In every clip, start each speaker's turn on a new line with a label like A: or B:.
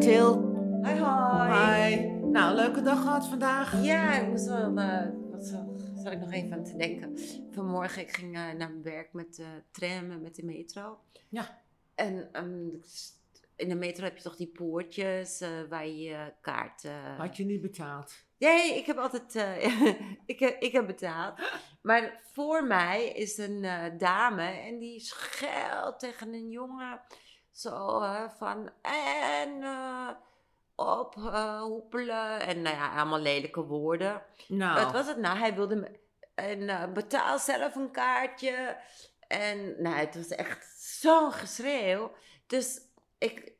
A: Til.
B: Hi, hi.
A: Hi. Nou, een leuke dag gehad vandaag.
B: Ja, ik moest wel. eh, wat zo- zat ik nog even aan te denken. Vanmorgen, ik ging eh, naar mijn werk met de tram en met de metro.
A: Ja.
B: En ehm, in de metro heb je toch die poortjes eh, waar je je kaart. eh,
A: Had je niet betaald?
B: Nee, ik heb altijd. eh, ik, heb, ik heb betaald. Maar voor mij is een eh, dame en die schelt tegen een jongen. Zo hè, van. En. eh, op, eh, hoepelen. En nou ja, allemaal lelijke woorden.
A: Nou,
B: Wat was het nou? Hij wilde. me- En eh, betaal zelf een kaartje. En nou, het was echt zo'n geschreeuw. Dus ik.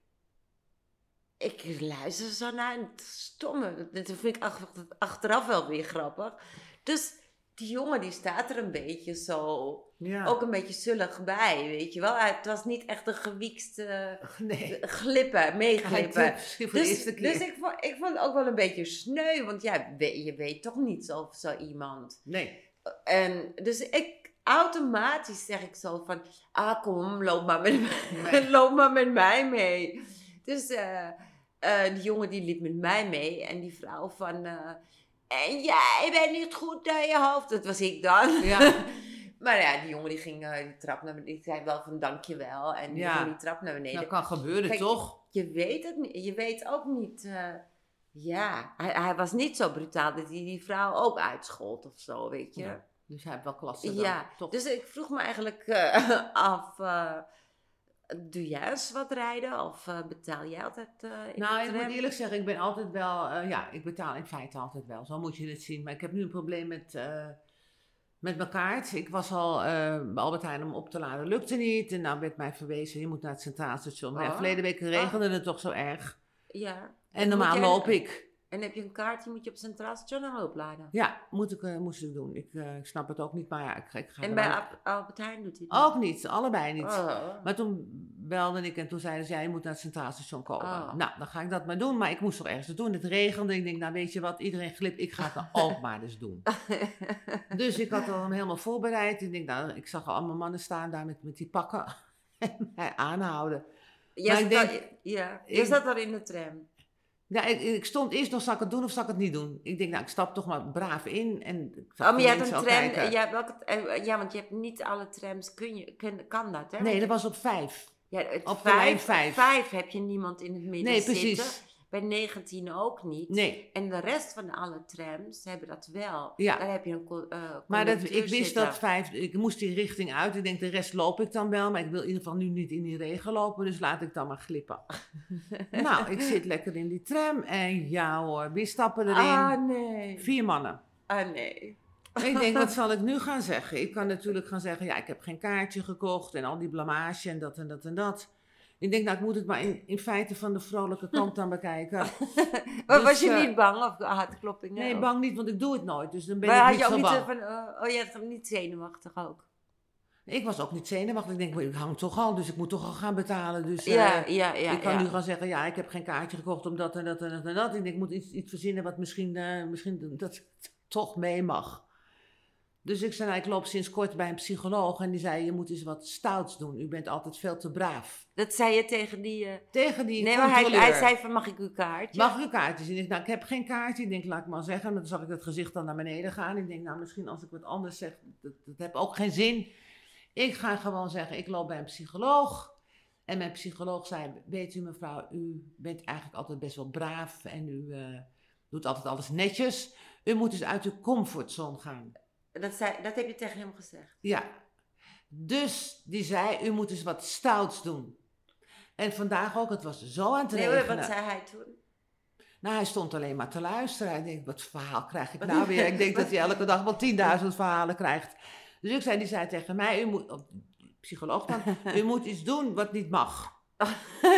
B: Ik luister zo naar en het stomme. Dat vind ik ach- achteraf wel weer grappig. Dus die jongen die staat er een beetje zo.
A: ja.
B: Ook een beetje zullig bij, weet je wel. Hij- Het was niet echt een gewiekste
A: nee.
B: glippen, meeglippen.
A: Hij doet het voor de
B: Dus,
A: eerste keer.
B: dus ik, vond, ik vond het ook wel een beetje sneu, want ja, we- je weet toch niet zo of zo iemand.
A: Nee.
B: En, dus ik automatisch zeg ik zo van, ah kom, loop maar met,
A: Nee.
B: loop maar met mij mee. Dus eh, eh, die jongen die liep met mij mee en die vrouw van, eh, en jij bent niet goed naar je hoofd. Dat was ik dan.
A: Ja.
B: Maar ja, die jongen die ging eh, die trap naar beneden. Ik zei wel van dankjewel. En die
A: Ja. Nou,
B: ging die trap naar beneden
A: Dat kan gebeuren,
B: Kijk,
A: toch?
B: je weet het niet. Je weet ook niet. eh, ja, hij, hij was niet zo brutaal dat hij die vrouw ook uitschold of zo, weet je.
A: Ja,
B: Ja,
A: Dus hij heeft wel klasse dan, toch?
B: dus ik vroeg me eigenlijk eh, af. eh, doe jij eens wat rijden of eh, betaal jij altijd eh in
A: nou,
B: de
A: ik
B: tram?
A: moet eerlijk zeggen, ik ben altijd wel... eh, ja, ik betaal in feite altijd wel. Zo moet je het zien. Maar ik heb nu een probleem met, eh, met mijn kaart. Ik was al eh, bij Albert Heijn om op te laden. Lukte niet. En nou werd mij verwezen, je moet naar het Centraal Station. Maar ja,
B: Oh.
A: verleden week regende het toch zo erg.
B: Ja.
A: En normaal
B: jij-
A: loop ik.
B: En heb je een kaart, die moet je op Centraal Station aan opladen.
A: Ja, moet ik, eh, moest ik doen. Ik, eh, ik snap het ook niet, maar ja, ik, ga- ik ga
B: En
A: er
B: bij
A: wel-
B: Ab- Albert Heijn doet hij dat
A: Ook niet, allebei niet.
B: Oh.
A: Maar toen belde ik en toen zeiden ze, ja, je moet naar het Centraal Station komen.
B: Oh.
A: Nou, dan ga ik dat maar doen. Maar ik moest toch ergens doen. Het regende. Ik denk, nou weet je wat, iedereen glip. Ik ga het nou ook maar eens doen. Dus ik had hem helemaal voorbereid. Ik denk, nou, ik zag al allemaal mannen staan daar met, met die pakken. En mij aanhouden.
B: Jij
A: Maar ik
B: zat
A: denk-
B: al- ja, je
A: ik-
B: zat al in de tram.
A: Ja, ik, ik stond eerst nog, zal ik het doen of zal ik het niet doen? Ik denk, nou, ik stap toch maar braaf in. En ik zag
B: Oh, maar
A: die
B: jij hebt
A: mensen
B: een
A: al
B: tram.
A: kijken.
B: jij hebt welke, eh, ja, want je hebt niet alle trams. Kun je, kun, kan dat, hè?
A: Nee, dat was op vijf.
B: ja, het
A: op de lijn vijf.
B: vijf, vijf heb je niemand in het midden
A: Nee,
B: zitten.
A: precies.
B: Bij 19 ook niet.
A: Nee.
B: En de rest van alle trams hebben dat wel.
A: Ja.
B: Daar heb je een co- eh,
A: Maar dat,
B: conducteur
A: ik wist
B: zitten.
A: dat vijf, ik moest die richting uit. Ik denk, de rest loop ik dan wel. Maar ik wil in ieder geval nu niet in die regen lopen. Dus laat ik dan maar glippen. nou, ik zit lekker in die tram. En ja hoor, wie stappen erin?
B: Ah, nee.
A: Vier mannen.
B: Ah, nee.
A: En ik denk, wat zal ik nu gaan zeggen? Ik kan natuurlijk gaan zeggen, ja, ik heb geen kaartje gekocht. En al die blamage en dat en dat en dat. Ik denk, nou, ik moet het maar in, in feite van de vrolijke kant dan bekijken.
B: Maar
A: Dus,
B: was je
A: eh,
B: niet bang of hartkloppingen?
A: Nee,
B: Of-
A: bang niet, want ik doe het nooit. Dus dan ben
B: Maar
A: ik
B: had
A: niet
B: je ook
A: zo
B: niet
A: bang.
B: zo van, eh, oh, jij bent niet zenuwachtig ook.
A: Ik was ook niet zenuwachtig. Ik denk, maar ik hang toch al, dus ik moet toch al gaan betalen. Dus eh,
B: ja, ja, ja.
A: ik kan
B: ja.
A: nu gaan zeggen, ja, ik heb geen kaartje gekocht om dat en dat en dat en dat. Ik denk, ik moet iets, iets verzinnen wat misschien, eh, misschien dat toch mee mag. Dus ik zei, nou, ik loop sinds kort bij een psycholoog en die zei, je moet eens wat stouts doen. U bent altijd veel te braaf.
B: Dat zei je tegen die... eh,
A: Tegen die
B: nee, maar hij,
A: controleur.
B: hij zei van, mag ik uw kaartje?
A: Mag ik een kaartje zien? Ik, nou, ik heb geen kaartje. Ik denk, laat ik maar zeggen. Dan zag ik dat gezicht dan naar beneden gaan. Ik denk, nou, misschien als ik wat anders zeg, dat, dat heb ook geen zin. Ik ga gewoon zeggen, ik loop bij een psycholoog. En mijn psycholoog zei, weet u mevrouw, u bent eigenlijk altijd best wel braaf. En u eh, doet altijd alles netjes. U moet dus uit uw comfortzone gaan.
B: Dat, zei, dat heb je tegen hem gezegd.
A: Ja. Dus die zei, u moet eens wat stouts doen. En vandaag ook, het was zo aan het
B: Nee,
A: regenen.
B: hoor, wat zei hij toen?
A: Nou, hij stond alleen maar te luisteren. Hij denkt, wat verhaal krijg ik
B: Wat-
A: nou weer? Ik denk dat hij elke dag wel 10.000 verhalen krijgt. Dus ik zei, die zei tegen mij, u moet, oh, psycholoog dan, u moet iets doen wat niet mag.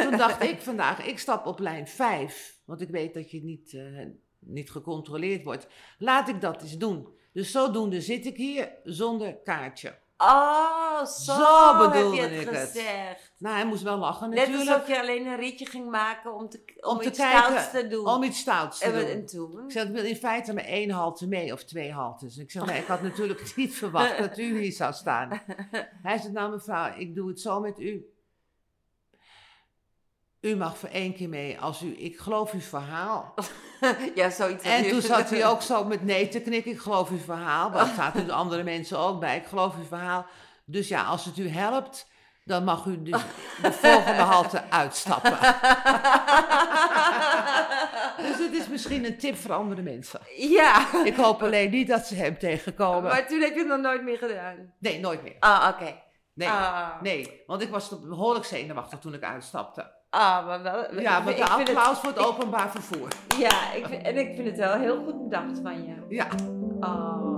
A: Toen dacht ik vandaag, ik stap op lijn 5, want ik weet dat je niet, eh, niet gecontroleerd wordt. Laat ik dat eens doen. Dus zodoende zit ik hier zonder kaartje.
B: Oh, zo,
A: Zo bedoelde
B: heb je het
A: ik het.
B: gezegd.
A: Nou, hij moest wel lachen
B: Net
A: natuurlijk,
B: alsof je alleen een ritje ging maken om, te, om,
A: Om te
B: iets
A: kijken,
B: stouts te doen.
A: om iets stouts te
B: en, we-
A: doen.
B: en toen?
A: Ik zeg, ik wil in feite maar één halte mee of twee haltes. Ik zeg, nee, ik had natuurlijk niet verwacht dat u hier zou staan. Hij zegt, nou mevrouw, ik doe het zo met u. U mag voor één keer mee als u, ik geloof uw verhaal.
B: ja, zoiets.
A: En toen zat hij ook zo met nee te knikken, ik geloof uw verhaal. Maar daar zaten de andere mensen ook bij, ik geloof uw verhaal. Dus ja, als het u helpt, dan mag u dus de volgende halte uitstappen. Dus het is misschien een tip voor andere mensen.
B: ja,
A: Ik hoop alleen niet dat ze hem tegenkomen.
B: maar toen heb je het nog nooit meer gedaan.
A: Nee, nooit meer.
B: Ah, oké.
A: Nee,
B: Ah.
A: nee. Want ik was toch behoorlijk zenuwachtig toen ik uitstapte.
B: Ah, maar wel.
A: Ja,
B: ik-
A: met
B: ik
A: de
B: vind het-
A: applaus voor het openbaar vervoer.
B: Ja, ik vind, en ik vind het wel heel goed bedacht van je.
A: Ja.
B: Ah.